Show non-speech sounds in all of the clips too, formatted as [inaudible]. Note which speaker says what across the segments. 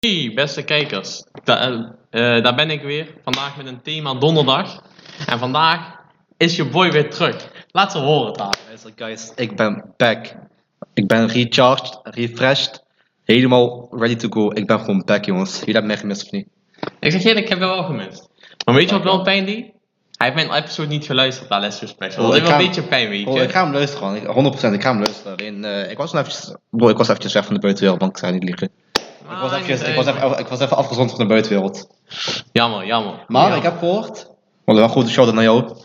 Speaker 1: Hey, beste kijkers. Da- eh, eh, daar ben ik weer. Vandaag met een thema donderdag. En vandaag is je boy weer terug. Laat ze horen daar.
Speaker 2: Luister guys, ik ben back. Ik ben recharged, refreshed, helemaal ready to go. Ik ben gewoon back jongens. Jullie hebben mij gemist of niet?
Speaker 1: Ik zeg eerlijk, ik heb jou wel gemist. Maar weet je wat wel pijn die? Hij heeft mijn episode niet geluisterd naar Let's Go Special.
Speaker 2: Oh,
Speaker 1: dat
Speaker 2: ik
Speaker 1: is wel een
Speaker 2: ga-
Speaker 1: beetje pijn, weet je.
Speaker 2: Oh, ik ga hem luisteren, man. Ik- 100% ik ga hem luisteren. Alleen, eh, ik was nog eventjes, bro, ik was eventjes weg van de buitenwereld, man. Ik zou niet liegen. Ik was,
Speaker 1: Ah,
Speaker 2: eventjes,
Speaker 1: niet
Speaker 2: ik, was
Speaker 1: uit.
Speaker 2: even, ik was even afgezond van de buitenwereld.
Speaker 1: Jammer, jammer.
Speaker 2: Maar
Speaker 1: Jammer.
Speaker 2: ik heb gehoord, want wel een grote shout-out naar jou.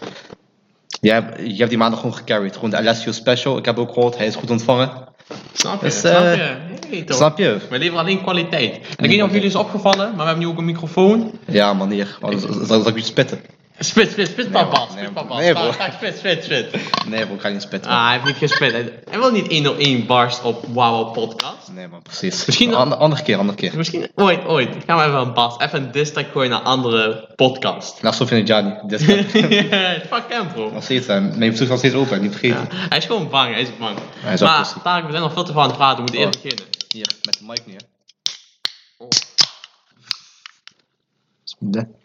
Speaker 2: Je hebt, je hebt die maandag gewoon gecarried. Gewoon de Alessio special. Ik heb ook gehoord, hij is goed ontvangen.
Speaker 1: Snap je,
Speaker 2: Dus,
Speaker 1: snap
Speaker 2: eh,
Speaker 1: je. Hey, toch.
Speaker 2: Snap je?
Speaker 1: We leveren alleen kwaliteit. En ik weet niet of jullie is opgevallen, maar we hebben nu ook een microfoon.
Speaker 2: Ja, man, hier. Want Zal zal- zal ik iets spitten?
Speaker 1: Spit, spit, spit,
Speaker 2: Nee,
Speaker 1: papa.
Speaker 2: hoor. Nee,
Speaker 1: Spit, papa.
Speaker 2: nee, hoor.
Speaker 1: Sta- sta- Spit, spit, spit.
Speaker 2: Nee, bro, ik ga niet spitten. man.
Speaker 1: Ah, hij heeft niet gespit. Hij- Hij wil niet 101 bars op Wow Podcast.
Speaker 2: Nee, man, precies.
Speaker 1: Misschien-
Speaker 2: Ander- andere keer, andere keer.
Speaker 1: Misschien ooit, ooit. Gaan we even een bars, even een diss track gooien naar andere podcast.
Speaker 2: Naast Sofie en Gianni. Dit is
Speaker 1: [laughs] Fuck hem, bro.
Speaker 2: nog steeds, hè. mijn zoek is nog steeds open, niet vergeten.
Speaker 1: Ja, hij is gewoon bang, hij is bang.
Speaker 2: Hij is ook
Speaker 1: maar,
Speaker 2: pussy.
Speaker 1: Tarek, we zijn nog veel te veel aan het praten, we moeten eerst
Speaker 2: Oh.
Speaker 1: beginnen.
Speaker 2: Hier, met de mic nu, hè.
Speaker 1: Oh.
Speaker 2: De-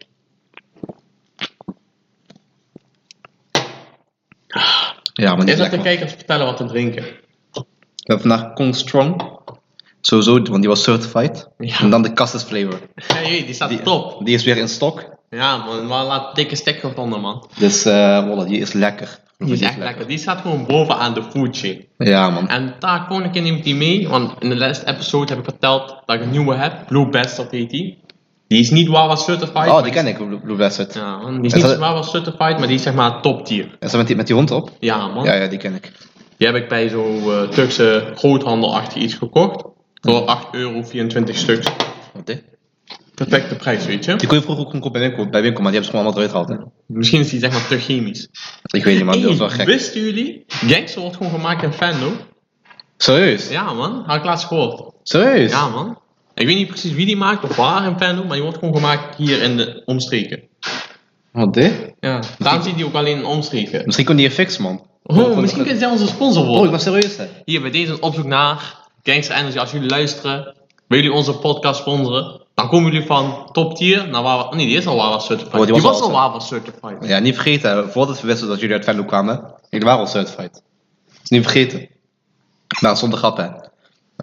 Speaker 2: Ja, maar
Speaker 1: Eerst laten
Speaker 2: niet
Speaker 1: de
Speaker 2: lekker. man.
Speaker 1: kijkers vertellen wat te drinken.
Speaker 2: We hebben vandaag Kong Strong. Sowieso, want die was certified.
Speaker 1: Ja.
Speaker 2: En dan de Cassis Flavor.
Speaker 1: Hey, die staat
Speaker 2: Die,
Speaker 1: top.
Speaker 2: die is weer in stok.
Speaker 1: Ja, man, maar laat dikke stek gevonden, man.
Speaker 2: Dus eh voilà, die is lekker.
Speaker 1: Die is echt Ah, lekker. Die staat gewoon bovenaan de food chain.
Speaker 2: Ja, man.
Speaker 1: En daar kon ik neem ik die mee, want in de laatste episode heb ik verteld dat ik een nieuwe heb, Blue Bastard heet die. Die is niet Wawa Certified.
Speaker 2: Oh,
Speaker 1: maar
Speaker 2: die
Speaker 1: is-
Speaker 2: ken ik, Blue Blue Bastard.
Speaker 1: Ja, man, die is
Speaker 2: Is
Speaker 1: niet
Speaker 2: dat-
Speaker 1: Wawa Certified, maar die is zeg maar top tier.
Speaker 2: En zo met die, met die hond op?
Speaker 1: Ja man,
Speaker 2: Ja, ja, die ken ik.
Speaker 1: die heb ik bij zo'n eh, Turkse groothandelachtig iets gekocht. Voor 8 euro 24 stuks.
Speaker 2: Wat dit?
Speaker 1: Perfecte prijs, weet
Speaker 2: Die
Speaker 1: je.
Speaker 2: kon je vroeger ook gewoon kopen bij winkel, bij winkel, maar die hebben ze gewoon allemaal eruit gehaald. Hè?
Speaker 1: Misschien is die zeg maar te chemisch.
Speaker 2: Ik weet niet, man. Dat is wel
Speaker 1: Hey,
Speaker 2: gek.
Speaker 1: wisten jullie, Gangster wordt gewoon gemaakt in Fendo?
Speaker 2: Serieus?
Speaker 1: Ja man, had ik laatst gehoord.
Speaker 2: Serieus?
Speaker 1: Ja, man. Ik weet niet precies wie die maakt of waar in Venlo, maar die wordt gewoon gemaakt hier in de omstreken.
Speaker 2: Wat dit?
Speaker 1: Ja. Daarom zie je die ook alleen in omstreken.
Speaker 2: Misschien kon die je fixen, man.
Speaker 1: Oh, misschien kunnen zij onze sponsor
Speaker 2: Oh, ik
Speaker 1: worden.
Speaker 2: ben serieus, hè?
Speaker 1: Hier, bij deze een opzoek naar Gangster Energy. Als jullie luisteren, willen jullie onze podcast sponsoren, dan komen jullie van top tier naar Wawa... Nee, die is al Wawa Certified.
Speaker 2: Oh,
Speaker 1: die,
Speaker 2: die
Speaker 1: was,
Speaker 2: was
Speaker 1: al
Speaker 2: al
Speaker 1: Wawa Certified.
Speaker 2: Ja, niet vergeten, hè, voordat we wisten dat jullie uit Venlo kwamen, jullie waren al certified. Dus niet vergeten. Maar zonder grap, hè?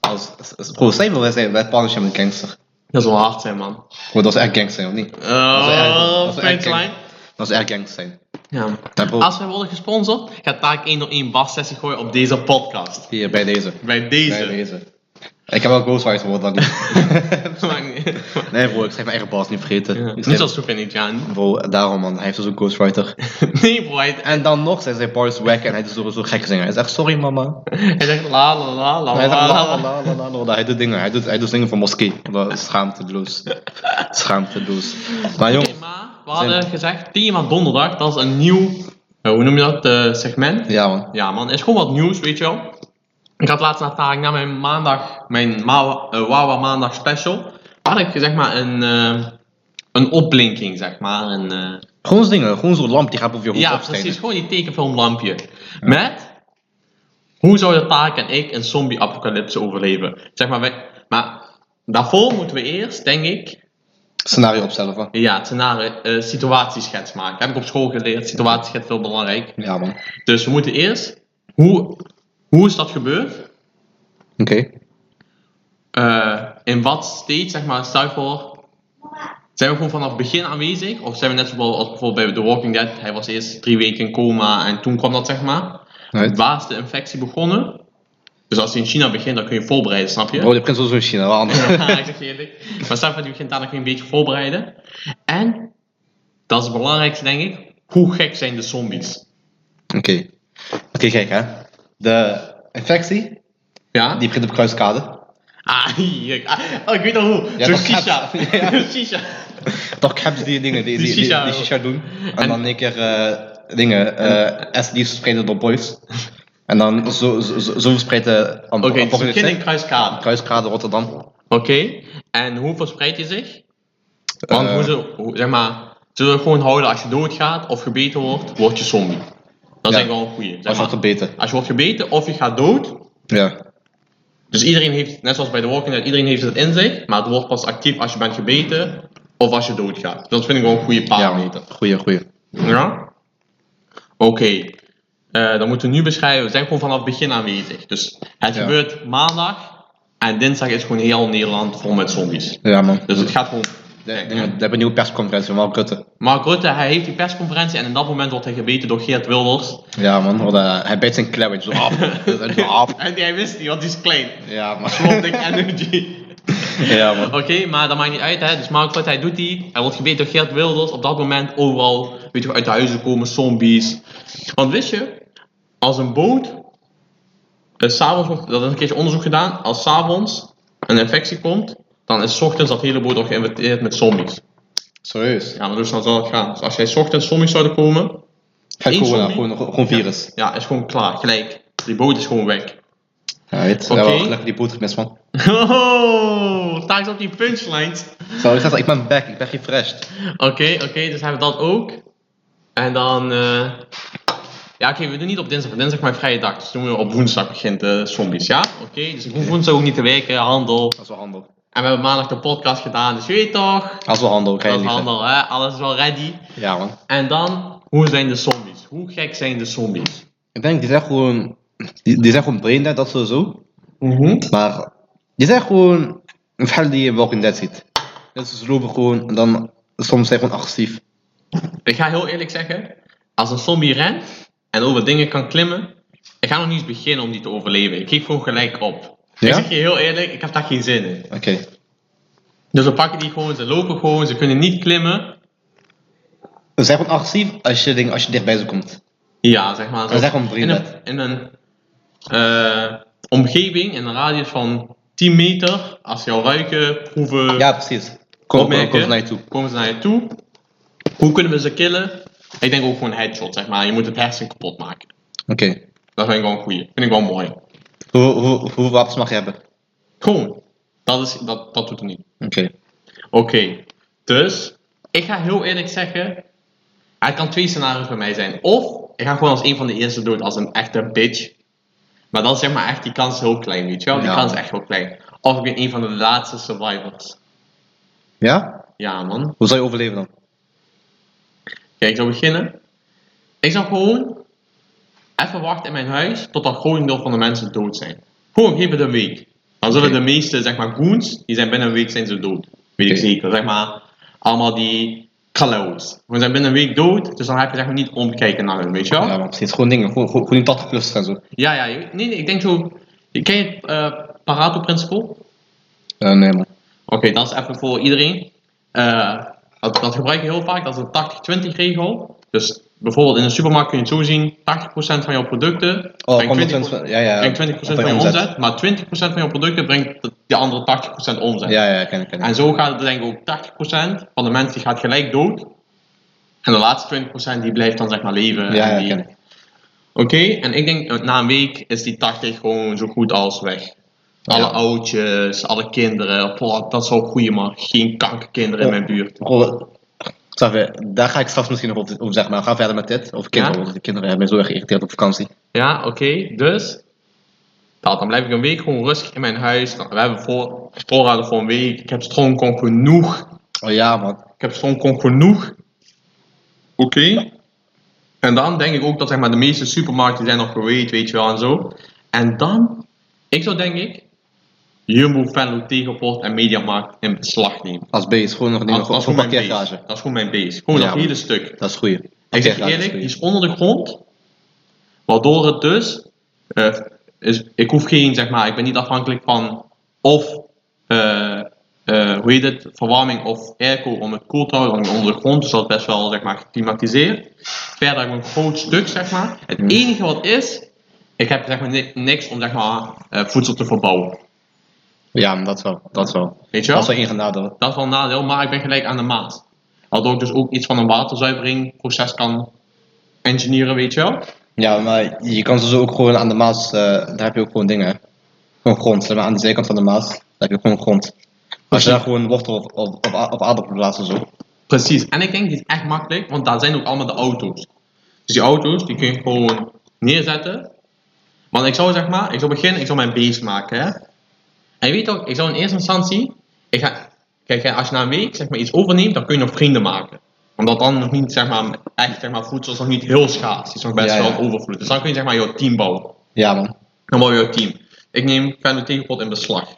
Speaker 2: Als, als- als- bro, zij wil wij zijn bij partnership met gangster.
Speaker 1: Dat is wel hard zijn, man.
Speaker 2: Bro, dat is echt gangster, zijn, of niet? is echt-
Speaker 1: Oh,
Speaker 2: dat is echt
Speaker 1: punchline.
Speaker 2: Dat is echt gangster. zijn.
Speaker 1: Ja.
Speaker 2: Ja, bro,
Speaker 1: Als wij worden gesponsord, gaat Taak 1 door 1 bar sessie gooien op deze podcast.
Speaker 2: hier, bij deze.
Speaker 1: Bij
Speaker 2: Bij
Speaker 1: deze.
Speaker 2: deze. Ik heb wel Ghostwire gehoord, dan niet.
Speaker 1: [laughs] Maakt niet-
Speaker 2: Nee, bro, ik zeg mijn eigen bars, niet vergeten.
Speaker 1: Ja.
Speaker 2: Ik
Speaker 1: Niet
Speaker 2: zeg-
Speaker 1: zoals Soep en ik, ja.
Speaker 2: Bro, daarom man, hij heeft dus een ghostwriter.
Speaker 1: Nee, bro, hij,
Speaker 2: en dan nog zijn zijn bars wack en hij doet zo, zo gek zingen. Hij zegt sorry mama.
Speaker 1: hij zegt la la la la
Speaker 2: Hij
Speaker 1: la
Speaker 2: zegt la
Speaker 1: la
Speaker 2: la la la la, la la. Hij doet dingen, hij doet, hij doet dingen van moskee. Dat is schaamteloos. Schaamteloos. Maar jong,
Speaker 1: Oké, maar we hadden gezegd, thema donderdag, dat is een nieuw, eh, hoe noem je dat, eh, segment.
Speaker 2: ja man.
Speaker 1: Ja man, is gewoon wat nieuws, weet je wel. Ik had laatst naar Tarek, na mijn maandag, mijn Mawa- eh, Wawa maandag special, had ik zeg maar een, eh, een opblinking, zeg maar. Een, eh,
Speaker 2: Gewoon zo'n dingen, gewoon zo'n lamp die gaat over je hoofd
Speaker 1: ja,
Speaker 2: opstijgen.
Speaker 1: precies, gewoon die tekenfilmlampje. Met, hoe zouden Tarek en ik een zombie-apocalypse overleven? Zeg maar, wij, maar daarvoor moeten we eerst, denk ik,
Speaker 2: Scenario opstellen van.
Speaker 1: Ja, het scenario, eh, situatieschets maken. Heb ik op school geleerd. Situatieschets heel belangrijk.
Speaker 2: Ja man. Oké.
Speaker 1: Dus we moeten eerst, hoe, hoe is dat gebeurd? Eh, in wat stage, zeg maar, stel je voor, zijn we gewoon vanaf begin aanwezig? Of zijn we net zoals als bijvoorbeeld bij The Walking Dead, hij was eerst drie weken in coma en toen kwam dat, zeg maar.
Speaker 2: Right.
Speaker 1: Waar is de infectie begonnen? Dus als hij in China begint, dan kun je je voorbereiden, snap je?
Speaker 2: Bro, die Oh, begint sowieso in China, wel anders.
Speaker 1: [laughs] Ja, ik zeg je eerlijk. Maar Stefan die begint daar nog een beetje voorbereiden. En, dat is het belangrijkste denk ik, hoe gek zijn de zombies?
Speaker 2: Oké. Oké, kijk hè. De infectie,
Speaker 1: Ja?
Speaker 2: die begint op kruiskade.
Speaker 1: Ah, hier. Ah, oh, ik weet al hoe.
Speaker 2: Ja,
Speaker 1: Zo'n
Speaker 2: toch,
Speaker 1: shisha.
Speaker 2: [laughs] ja.
Speaker 1: Zo'n shisha.
Speaker 2: Toch hebben ze die dingen, die,
Speaker 1: Die
Speaker 2: die, die,
Speaker 1: shisha,
Speaker 2: die
Speaker 1: joh.
Speaker 2: shisha doen. En,
Speaker 1: En-
Speaker 2: dan een keer eh, dingen, eh SD's verspreiden door boys. En dan zo, zo, zo zo verspreidt de am-
Speaker 1: Oké, dus we
Speaker 2: apocalypse
Speaker 1: beginnen in Kruiskade.
Speaker 2: Kruiskade Rotterdam.
Speaker 1: Oké. En hoe verspreidt hij zich? Want
Speaker 2: Eh.
Speaker 1: hoe ze, hoe- zeg maar, zullen we gewoon houden als je doodgaat of gebeten wordt, word je zombie. Dat
Speaker 2: Ja.
Speaker 1: is eigenlijk wel een goeie. Zeg
Speaker 2: Als
Speaker 1: maar,
Speaker 2: wat gebeten.
Speaker 1: als je wordt gebeten of je gaat dood,
Speaker 2: Ja.
Speaker 1: Dus iedereen heeft, net zoals bij The Walking Dead, iedereen heeft het in zich, maar het wordt pas actief als je bent gebeten of als je doodgaat. Dus Dat vind ik wel een goede parameter.
Speaker 2: Goeie, goeie.
Speaker 1: Ja? Oké. Eh, dan moeten we nu beschrijven, we zijn gewoon vanaf het begin aanwezig. Dus het
Speaker 2: Ja.
Speaker 1: gebeurt maandag en dinsdag is gewoon heel Nederland vol met zombies.
Speaker 2: Ja, man.
Speaker 1: Dus het gaat gewoon...
Speaker 2: Ik denk dat- We hebben een nieuwe persconferentie van Mark Rutte.
Speaker 1: Mark Rutte, hij heeft die persconferentie en in dat moment wordt hij gebeten door Geert Wilders.
Speaker 2: Ja, man. Wat, eh, hij bijt zijn klauwtjes af.
Speaker 1: [laughs]
Speaker 2: Dat is echt af.
Speaker 1: En hij wist niet, want die is klein.
Speaker 2: Ja, man. [laughs]
Speaker 1: Slotting energy.
Speaker 2: Ja, man.
Speaker 1: Oké, maar dat maakt niet uit, hè. Dus Mark Rutte, hij doet die. Hij wordt gebeten door Geert Wilders. Op dat moment overal, weet je, uit de huizen komen zombies. Want wist je, als een boot... eh, s'avonds, wordt- dat is een keertje onderzoek gedaan. Als s'avonds een infectie komt, dan is 's ochtends dat hele boot al geïnfecteerd met zombies.
Speaker 2: Serieus.
Speaker 1: Ja, maar dus dan zal het gaan. Dus als jij 's ochtends zombies zouden komen,
Speaker 2: Geen
Speaker 1: Eén
Speaker 2: corona,
Speaker 1: zombie.
Speaker 2: gewoon, gewoon virus.
Speaker 1: ja, is gewoon klaar, gelijk. Die boot is gewoon weg. [laughs]
Speaker 2: Ja, weet.
Speaker 1: Oké.
Speaker 2: Ja, wel, gelukkig die boot gemist, man.
Speaker 1: Oh, taaks op die punchlines.
Speaker 2: Zo, ik, ga, ik ben back. Ik ben refreshed.
Speaker 1: Oké, oké, dus hebben we dat ook. En dan. eh, Ja, oké, we doen niet op dinsdag. want Dinsdag is mijn vrije dag. Dus doen we op woensdag begint de zombies, ja? Oké, dus ik hoef woensdag ook niet te werken, handel.
Speaker 2: Dat is wel handel.
Speaker 1: En we hebben maandag de podcast gedaan, dus je weet toch?
Speaker 2: Dat is wel handel. Ga je
Speaker 1: Dat is
Speaker 2: niet zeggen.
Speaker 1: handel, hè? Alles is wel ready.
Speaker 2: Ja, man.
Speaker 1: En dan, hoe zijn de zombies? Hoe gek zijn de zombies?
Speaker 2: Ik denk, die zijn gewoon... Die, die zijn gewoon braindead, dat sowieso. Maar die zijn gewoon... Een verhaal die je in Walking Dead ziet. Dus ze lopen gewoon en dan... Soms zijn ze gewoon agressief.
Speaker 1: Ik ga heel eerlijk zeggen, als een zombie rent en over dingen kan klimmen, ik ga nog niet eens beginnen om die te overleven. Ik geef gewoon gelijk op. Ik
Speaker 2: Ja?
Speaker 1: zeg je heel eerlijk, ik heb daar geen zin in.
Speaker 2: Oké.
Speaker 1: Dus we pakken die gewoon, ze lopen gewoon, ze kunnen niet klimmen.
Speaker 2: Ze zijn gewoon agressief als je, ding, als je dichtbij ze komt.
Speaker 1: Ja, zeg maar. zo-
Speaker 2: Dat is echt een
Speaker 1: in een,
Speaker 2: vriendelijk.
Speaker 1: in een eh, omgeving, in een radius van 10 meter, als ze jou ruiken, proeven,
Speaker 2: Ja, precies. Kom, kom, kom
Speaker 1: opmerken,
Speaker 2: naar je toe.
Speaker 1: komen ze naar je toe. Hoe kunnen we ze killen? Ik denk ook gewoon headshot, zeg maar. Je moet het hersen kapot maken.
Speaker 2: Oké.
Speaker 1: Dat vind ik wel een goeie. Vind ik wel mooi.
Speaker 2: Hoe, hoe, hoeveel wapens mag je hebben? Oké.
Speaker 1: Gewoon. Dat, is, dat, dat doet er niet. Oké, dus ik ga heel eerlijk zeggen, er kan twee scenario's bij mij zijn. Of ik ga gewoon als een van de eerste dood, als een echte bitch. Maar dan zeg maar echt, die kans is heel klein, weet je wel? Die
Speaker 2: Ja.
Speaker 1: kans is echt heel klein. Of ik ben een van de laatste survivors.
Speaker 2: Ja?
Speaker 1: Ja man.
Speaker 2: Hoe zou je overleven dan?
Speaker 1: Kijk, ik zou beginnen. Ik zou gewoon even wachten in mijn huis tot dat groot deel van de mensen dood zijn. Gewoon geef het een week. Dan zullen
Speaker 2: Oké.
Speaker 1: de meeste, zeg maar, goons, die zijn binnen een week zijn ze dood. Weet ik
Speaker 2: Oké.
Speaker 1: zeker. Zeg maar, allemaal die kallows. We zijn binnen een week dood, dus dan heb je zeg maar niet omkijken naar hun, weet je wel?
Speaker 2: Ja,
Speaker 1: Ja,
Speaker 2: maar precies. Gewoon dingen. Gewoon, gewoon, gewoon in 80 plus en zo.
Speaker 1: ja. je- nee, nee, ik denk zo... je- Ken je het eh, Pareto-principe? Oké,
Speaker 2: Eh, nee, man.
Speaker 1: dat is even voor iedereen. Eh, dat, dat gebruik je heel vaak, dat is een 80-20 regel. Dus bijvoorbeeld in de supermarkt kun je het zo zien, 80% van jouw producten...
Speaker 2: Oh,
Speaker 1: brengt
Speaker 2: 120
Speaker 1: 20%
Speaker 2: ja, ja.
Speaker 1: brengt 20% van je omzet, maar 20% van jouw producten brengt de- de andere 80% omzet.
Speaker 2: Ja, ja, ken ik, ken ik.
Speaker 1: En zo gaat het denk ik ook 80% van de mensen die gaat gelijk dood. En de laatste 20% die blijft dan zeg maar leven.
Speaker 2: Ja,
Speaker 1: en
Speaker 2: ja,
Speaker 1: die-
Speaker 2: ken ik.
Speaker 1: Oké, en ik denk eh, na een week is die 80 gewoon zo goed als weg. Alle
Speaker 2: Ja.
Speaker 1: oudjes, alle kinderen, Plat, dat is wel goeie man. Geen kankerkinderen in
Speaker 2: Ja.
Speaker 1: mijn buurt.
Speaker 2: Goh, Snap je? Daar ga ik straks misschien nog op, op zeg maar. Ga verder met dit. Over kinderen.
Speaker 1: Ja?
Speaker 2: Want de kinderen hebben mij zo erg geïrriteerd op vakantie.
Speaker 1: Ja, oké, dus. Dat, dan blijf ik een week gewoon rustig in mijn huis. Dan- We hebben voor, voorraden voor een week. Ik heb stroomkon genoeg.
Speaker 2: Oh ja, man.
Speaker 1: Ik heb stroomkon genoeg. Oké. En dan denk ik ook dat zeg maar, de meeste supermarkten zijn nog geweest, weet je wel, en zo. En dan, ik zou denk ik, Jumbo, Venlo, Tegenpoort en Mediamarkt in beslag nemen.
Speaker 2: Als B is gewoon nog
Speaker 1: Dat, dat
Speaker 2: dingen. Gewoon
Speaker 1: is gewoon
Speaker 2: een
Speaker 1: mijn base.
Speaker 2: parkeergarage.
Speaker 1: Dat is gewoon mijn base. Gewoon
Speaker 2: Ja,
Speaker 1: dat
Speaker 2: man.
Speaker 1: hele stuk.
Speaker 2: Dat is goeie.
Speaker 1: Ik zeg je
Speaker 2: Parkeergarage is
Speaker 1: eerlijk, die
Speaker 2: goeie.
Speaker 1: is onder de grond. Waardoor het dus. eh, is, ik hoef geen, zeg maar, ik ben niet afhankelijk van of eh, eh, hoe heet het, verwarming of airco om het koel te houden. want ik ben onder de grond, dus dat is best wel zeg maar, gethematiseerd. Verder heb ik een groot stuk, zeg maar. Het
Speaker 2: Hmm.
Speaker 1: enige wat is, ik heb zeg maar, ni- niks om zeg maar, eh, voedsel te verbouwen.
Speaker 2: Ja, maar dat wel. Dat wel.
Speaker 1: Weet je
Speaker 2: Dat
Speaker 1: wel?
Speaker 2: is wel één genade.
Speaker 1: Dat is wel een nadeel, maar ik ben gelijk aan de maat. Waardoor ik dus ook iets van een waterzuiveringproces kan engineeren, weet je wel.
Speaker 2: Ja, maar je kan ze zo ook gewoon aan de Maas, eh, daar heb je ook gewoon dingen. Gewoon grond, zeg maar aan de zijkant van de Maas, daar heb je ook gewoon grond. Als je daar gewoon wortel of, of, of, a- of aardappelen plaatst en zo.
Speaker 1: Precies, en ik denk die is echt makkelijk, want daar zijn ook allemaal de auto's. Dus die auto's die kun je gewoon neerzetten. Want ik zou zeg maar, ik zou beginnen, ik zou mijn base maken. Hè? En je weet ook, ik zou in eerste instantie. Ik ga, kijk, hè, als je na een week zeg maar, iets overneemt, dan kun je nog vrienden maken. Omdat dan nog niet, zeg maar, echt, zeg maar, voedsel is nog niet heel schaars. Het is nog best
Speaker 2: Ja, ja.
Speaker 1: wel overvloed. Dus dan kun je, zeg maar, jouw team bouwen.
Speaker 2: Ja, man.
Speaker 1: Dan bouw je jouw team. Ik neem Fendo Tegenpot in beslag.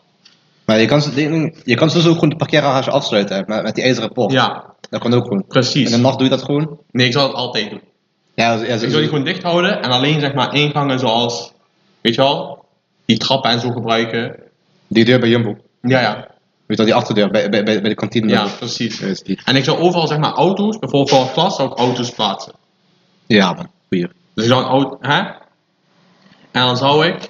Speaker 2: Maar je kan, ze- je kan sowieso ook gewoon de parkeergarage afsluiten hè, met, met die ijzeren poort.
Speaker 1: Ja,
Speaker 2: Dat kan ook gewoon. In
Speaker 1: precies.
Speaker 2: de nacht doe je dat gewoon.
Speaker 1: Nee, ik zal het altijd doen.
Speaker 2: Ja, ja
Speaker 1: Ik zou die gewoon dicht houden en alleen, zeg maar, ingangen zoals, weet je wel, die trappen en zo gebruiken.
Speaker 2: die deur bij Jumbo.
Speaker 1: Ja, ja.
Speaker 2: Weet je wel, die achterdeur bij, bij, bij bij de kantine.
Speaker 1: Ja, precies.
Speaker 2: Ja, is die.
Speaker 1: En ik zou overal, zeg maar, auto's, bijvoorbeeld voor een klas, zou ik auto's plaatsen.
Speaker 2: Ja, man. Goeie.
Speaker 1: Dus ik zou een auto, hè? En dan zou ik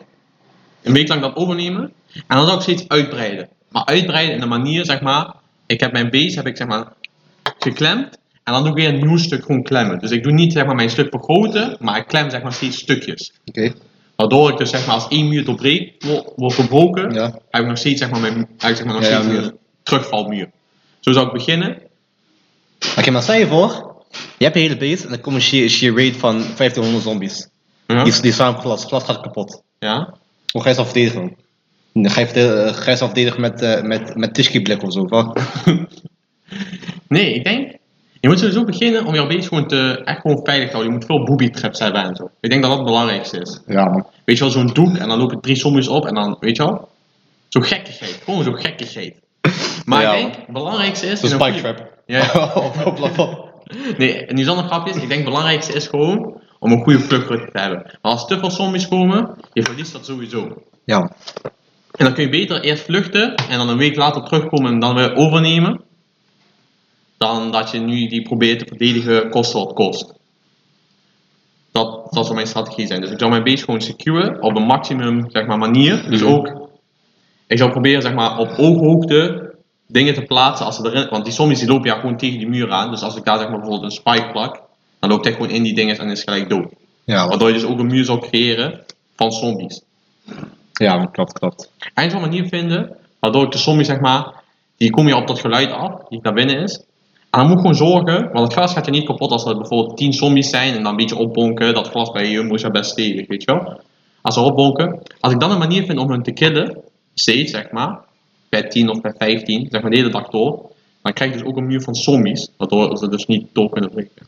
Speaker 1: een week lang dat overnemen. En dan zou ik steeds uitbreiden. Maar uitbreiden in de manier, zeg maar, ik heb mijn base, heb ik zeg maar, geklemd. En dan doe ik weer een nieuw stuk gewoon klemmen. Dus ik doe niet, zeg maar, mijn stuk vergroten, maar ik klem, zeg maar, steeds stukjes.
Speaker 2: Oké.
Speaker 1: Waardoor ik dus, zeg maar, als één muur doorbreekt, wo- wordt verbroken,
Speaker 2: Ja.
Speaker 1: heb ik nog steeds, zeg maar, mijn, heb ik, zeg maar, nog
Speaker 2: Ja, ja,
Speaker 1: steeds
Speaker 2: muur.
Speaker 1: een terugvalmuur. Zo zou ik beginnen.
Speaker 2: Oké, maar stel je voor, je hebt een hele base en dan komt een sheer, sheer raid van 1500 zombies.
Speaker 1: Ja.
Speaker 2: Die, die slaan op glas, glas gaat kapot.
Speaker 1: ja.
Speaker 2: Hoe ga je ze dan verdedigen? Dan ga je, verde- eh, ga je ze dan verdedigen met, eh met, met Tishki-blik of zo. Wat?
Speaker 1: Nee, ik denk. Je moet sowieso beginnen om jouw base gewoon te, echt gewoon veilig te houden. Je moet veel booby traps hebben en zo. Ik denk dat dat het belangrijkste is.
Speaker 2: Ja, man.
Speaker 1: Weet je wel, zo'n doek en dan lopen drie zombies op en dan, weet je wel? Zo'n gekkigheid. Gewoon zo'n gekkigheid. Maar
Speaker 2: Ja,
Speaker 1: ik denk, het belangrijkste is.
Speaker 2: Zo'n
Speaker 1: in een
Speaker 2: spike
Speaker 1: goede-
Speaker 2: trap.
Speaker 1: Ja.
Speaker 2: [laughs] op, op, op, op.
Speaker 1: Nee, en nu zonder grapjes. Ik denk het belangrijkste is gewoon om een goede vluchtroute te hebben. Maar als te veel zombies komen, je verliest dat sowieso.
Speaker 2: Ja, man.
Speaker 1: En dan kun je beter eerst vluchten en dan een week later terugkomen en dan weer overnemen. Dan dat je nu die probeert te verdedigen kost wat kost. Dat, dat zou mijn strategie zijn. Dus ik zou mijn base gewoon securen op de maximum zeg maar, manier. Dus
Speaker 2: Mhm.
Speaker 1: ook, ik zou proberen zeg maar, op ooghoogte dingen te plaatsen als ze erin. Want die zombies die lopen ja gewoon tegen die muur aan. Dus als ik daar zeg maar, bijvoorbeeld een spike plak, dan loopt hij gewoon in die dingen en is gelijk dood.
Speaker 2: Ja, man.
Speaker 1: Waardoor je dus ook een muur zou creëren van zombies.
Speaker 2: Ja, man. Klopt, klopt.
Speaker 1: En ik zou een manier vinden waardoor ik de zombies, zeg maar, die kom je op dat geluid af, die naar binnen is. En dan moet je gewoon zorgen, want het glas gaat je niet kapot als er bijvoorbeeld 10 zombies zijn en dan een beetje opbonken. Dat glas bij Jumbo is ja best stevig, weet je wel. Als ze opbonken. Als ik dan een manier vind om hen te killen, steeds zeg maar, bij 10 of bij 15, zeg maar de hele dag door. Dan krijg je dus ook een muur van zombies, waardoor ze dus niet door kunnen breken.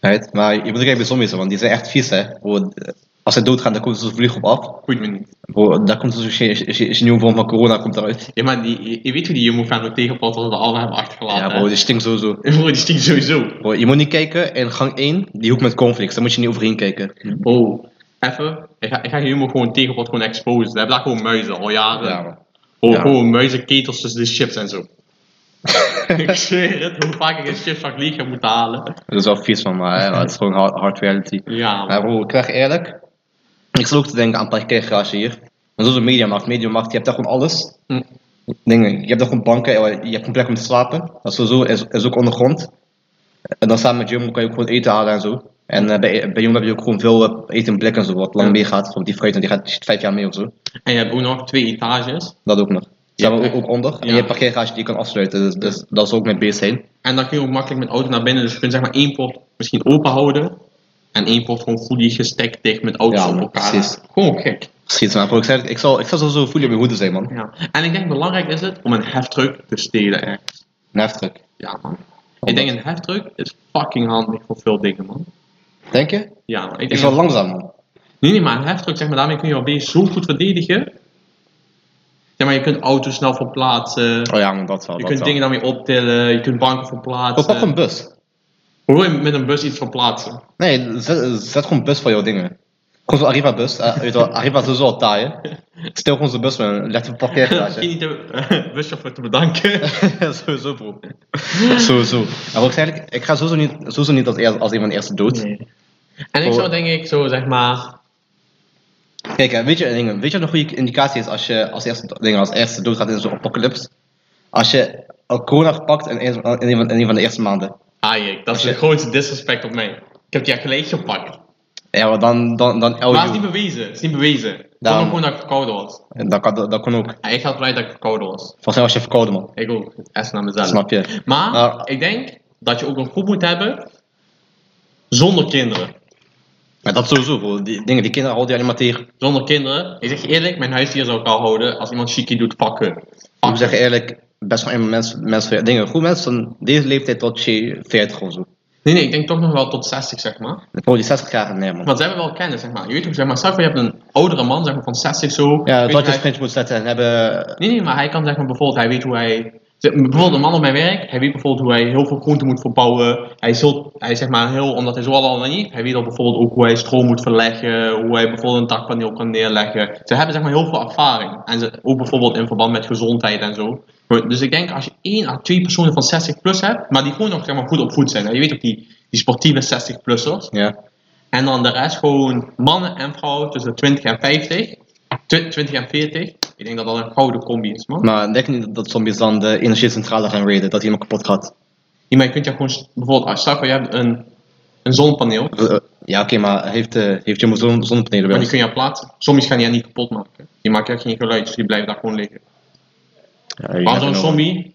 Speaker 2: Right? Maar je moet ook kijken bij zombies, want die zijn echt vies, hè. Bro, eh, Als ze doodgaan, dan komt zo'n vlieg op af.
Speaker 1: Goed me niet.
Speaker 2: Bro, daar komt zo'n she- she- she- nieuwe vorm van corona komt eruit.
Speaker 1: Ja, maar die, je- je weet hoe die Jumbo fan ook tegenpast als ze de allen hebben
Speaker 2: Ja,
Speaker 1: achtergelaten.
Speaker 2: bro,
Speaker 1: hè? [laughs]
Speaker 2: die stinkt sowieso.
Speaker 1: die stinkt sowieso.
Speaker 2: Bro, je moet niet kijken in gang 1, die hoek met conflicts, daar moet je niet overheen kijken.
Speaker 1: Oh, even. Ik ga, ik ga humor gewoon tegenpot gewoon exposen. We hebben daar gewoon muizen al jaren.
Speaker 2: Ja, man.
Speaker 1: Gewoon-
Speaker 2: ja.
Speaker 1: Gewoon muizenketels tussen de chips en
Speaker 2: [laughs]
Speaker 1: zo. ik zweer het, hoe vaak ik een chipzak leeg heb moeten halen.
Speaker 2: Dat is wel vies van mij, [laughs] hè, maar het is gewoon hard, hard reality.
Speaker 1: Ja,
Speaker 2: Maar bro, ik zeg eerlijk, ik zat ook te denken aan parkeergarage hier. Maar zoals een mediamarkt, mediamarkt, je hebt daar gewoon alles.
Speaker 1: Hm.
Speaker 2: Dingen, je hebt daar gewoon banken, eh, je hebt een plek om te slapen. Dat is sowieso, is, is ook ondergrond. En dan samen met Jumbo kan je ook gewoon eten halen en zo. En eh, bij, bij Jumbo heb je ook gewoon veel eh, eten in blik en zo, wat lang
Speaker 1: Ja.
Speaker 2: meegaat. Want die fruit, die gaat die zit vijf jaar mee of zo.
Speaker 1: en je hebt ook nog twee etages.
Speaker 2: Dat ook nog.
Speaker 1: Ja.
Speaker 2: Zijn we ook, ook onder. En
Speaker 1: Ja.
Speaker 2: je hebt parkeergarage die je kan afsluiten, dus, dus dat is ook mijn beest heen.
Speaker 1: En dan kun je ook makkelijk met auto naar binnen. Dus je kunt zeg maar één poort misschien open houden. En één poort gewoon fully gestekt dicht met auto's
Speaker 2: Ja,
Speaker 1: op
Speaker 2: man,
Speaker 1: elkaar.
Speaker 2: precies.
Speaker 1: Gewoon gek.
Speaker 2: Schiet maar, bro. Ik, zei, het, ik, zal, ik zal sowieso voelen op mijn hoede zijn, man.
Speaker 1: Ja. En ik denk belangrijk is het om een heftruck te stelen echt.
Speaker 2: Een heftruck.
Speaker 1: Ja man. Ik denk een heftruck is fucking handig voor veel dingen man.
Speaker 2: Denk je?
Speaker 1: Ja man. Ik denk
Speaker 2: Ik zal langzaam, man.
Speaker 1: Nee, nee, maar een heftruck, zeg maar, daarmee kun je jouw base zo goed verdedigen. Ja, maar je kunt auto's snel verplaatsen.
Speaker 2: Oh ja, man, dat wel.
Speaker 1: je
Speaker 2: dat
Speaker 1: kunt
Speaker 2: wel.
Speaker 1: dingen daarmee optillen. Je kunt banken
Speaker 2: Oh, pak
Speaker 1: verplaatsen.
Speaker 2: een bus.
Speaker 1: Hoe wil je met een bus iets verplaatsen?
Speaker 2: [laughs] Nee, zet, zet gewoon bus voor jouw dingen. Gewoon zo'n Arriva-bus. eh, weet je wel, Arriva is sowieso al taai, hè. Stel gewoon zo'n bus met een lekker
Speaker 1: Misschien [laughs]
Speaker 2: parkeergarage.
Speaker 1: niet de eh, buschauffeur te bedanken.
Speaker 2: [laughs] sowieso, bro. sowieso. Maar wat ik zei eigenlijk, ik ga sowieso niet, sowieso niet als, eer- als een van de eerste dood.
Speaker 1: En ik
Speaker 2: Oh.
Speaker 1: zou denk ik zo, zeg maar...
Speaker 2: Kijk, hè, weet je, dingen, weet je wat een goede indicatie is als je als eerste, dingen, als eerste dood gaat in zo'n apocalypse? Als je al corona gepakt in een, in, een van, in een van de eerste maanden.
Speaker 1: Ah, jee, dat is
Speaker 2: je- Oh,
Speaker 1: het grootste disrespect op mij. Ik heb die echt gelijk gepakt.
Speaker 2: Ja, maar dan, dan, dan,
Speaker 1: maar
Speaker 2: dan,
Speaker 1: het is niet bewezen. Het is niet bewezen. Ik
Speaker 2: Daarom.
Speaker 1: vond gewoon dat ik verkouden was.
Speaker 2: dat, kan, dat, dat kon ook.
Speaker 1: En ik had blij dat ik verkouden was.
Speaker 2: Volgens mij was je verkouden, man.
Speaker 1: Ik ook. Echt naar mezelf.
Speaker 2: Snap je?
Speaker 1: Maar
Speaker 2: Nou.
Speaker 1: ik denk dat je ook een groep moet hebben zonder kinderen.
Speaker 2: Maar dat sowieso, bro. Die dingen, die kinderen houden die alleen maar tegen.
Speaker 1: Zonder kinderen. Ik zeg je eerlijk, mijn huisdier zou ik al houden als iemand chickie doet pakken.
Speaker 2: Ik moet zeggen eerlijk, best wel een mensen, mensen dingen. Goed mensen van deze leeftijd tot je 40 of zo.
Speaker 1: Nee, nee, ik denk toch nog wel tot 60, zeg maar.
Speaker 2: Bro, die 60 jaar, nee man.
Speaker 1: Want ze hebben wel kennis, zeg maar. Je weet toch, zeg maar, stel je voor, je hebt een oudere man, zeg maar, van 60 zo.
Speaker 2: Ja,
Speaker 1: Weet nou-
Speaker 2: dat je
Speaker 1: hij-
Speaker 2: sprintje moet zetten en hebben...
Speaker 1: Nee, nee, maar hij kan zeg maar bijvoorbeeld, hij weet hoe hij... zeg, Bijvoorbeeld een man op mijn werk, hij weet bijvoorbeeld hoe hij heel veel groenten moet verbouwen. Hij is, heel, hij is zeg maar heel, omdat hij zo al al niet, hij weet al bijvoorbeeld ook hoe hij stroom moet verleggen, hoe hij bijvoorbeeld een dakpaneel kan neerleggen. Ze hebben zeg maar heel veel ervaring. En ze, ook bijvoorbeeld in verband met gezondheid en zo. Maar- Dus ik denk als je één à twee personen van 60 plus hebt, maar die gewoon nog zeg maar, goed op voet zijn. hè. Je weet ook die, die sportieve 60-plussers.
Speaker 2: Ja.
Speaker 1: En dan de rest gewoon mannen en vrouwen tussen 20 en 50. Tw- 20 en 40. Ik denk dat dat een gouden combi is, man.
Speaker 2: Maar denk je niet dat zombies dan de energiecentrale gaan raiden, dat iemand kapot gaat?
Speaker 1: Ja, maar je kunt ja gewoon, s- bijvoorbeeld, als stel je voor, je hebt een, een zonnepaneel,
Speaker 2: Eh, eh, Ja, oké, maar heeft, eh heeft je zo'n zonnepanelen
Speaker 1: maar
Speaker 2: bij
Speaker 1: die
Speaker 2: ons?
Speaker 1: kun je plaatsen. Sommige gaan die ja niet kapot maken. Die maken echt geen geluid, dus die blijven daar gewoon liggen.
Speaker 2: Ja, je
Speaker 1: Maar
Speaker 2: hebt
Speaker 1: zo'n
Speaker 2: een-
Speaker 1: zombie,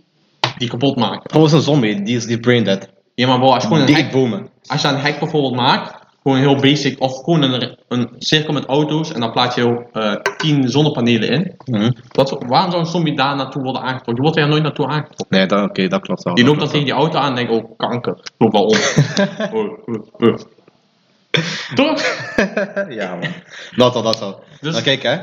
Speaker 1: die kapot maken.
Speaker 2: Bro, zo'n zombie, die is die brain dead.
Speaker 1: Ja, maar bro, als je gewoon een
Speaker 2: Die
Speaker 1: hek,
Speaker 2: ik bomen.
Speaker 1: als je een hek bijvoorbeeld maakt, gewoon heel basic, of gewoon een, een cirkel met auto's, en dan plaats je eh 10 zonnepanelen in.
Speaker 2: Mhm.
Speaker 1: Wat, waarom zou een zombie daar naartoe worden aangetrokken? Die wordt er ja nooit naartoe aangetrokken.
Speaker 2: Nee, dat- oké, dat klopt wel.
Speaker 1: Die
Speaker 2: dat
Speaker 1: loopt dan
Speaker 2: klopt
Speaker 1: tegen die auto aan en denkt, oh kanker, ik loop
Speaker 2: [laughs]
Speaker 1: wel om. oh, oh, oh. Toch?
Speaker 2: wel. [laughs] ja, man. Dat al, dat al.
Speaker 1: Dus-
Speaker 2: Maar kijk, hè.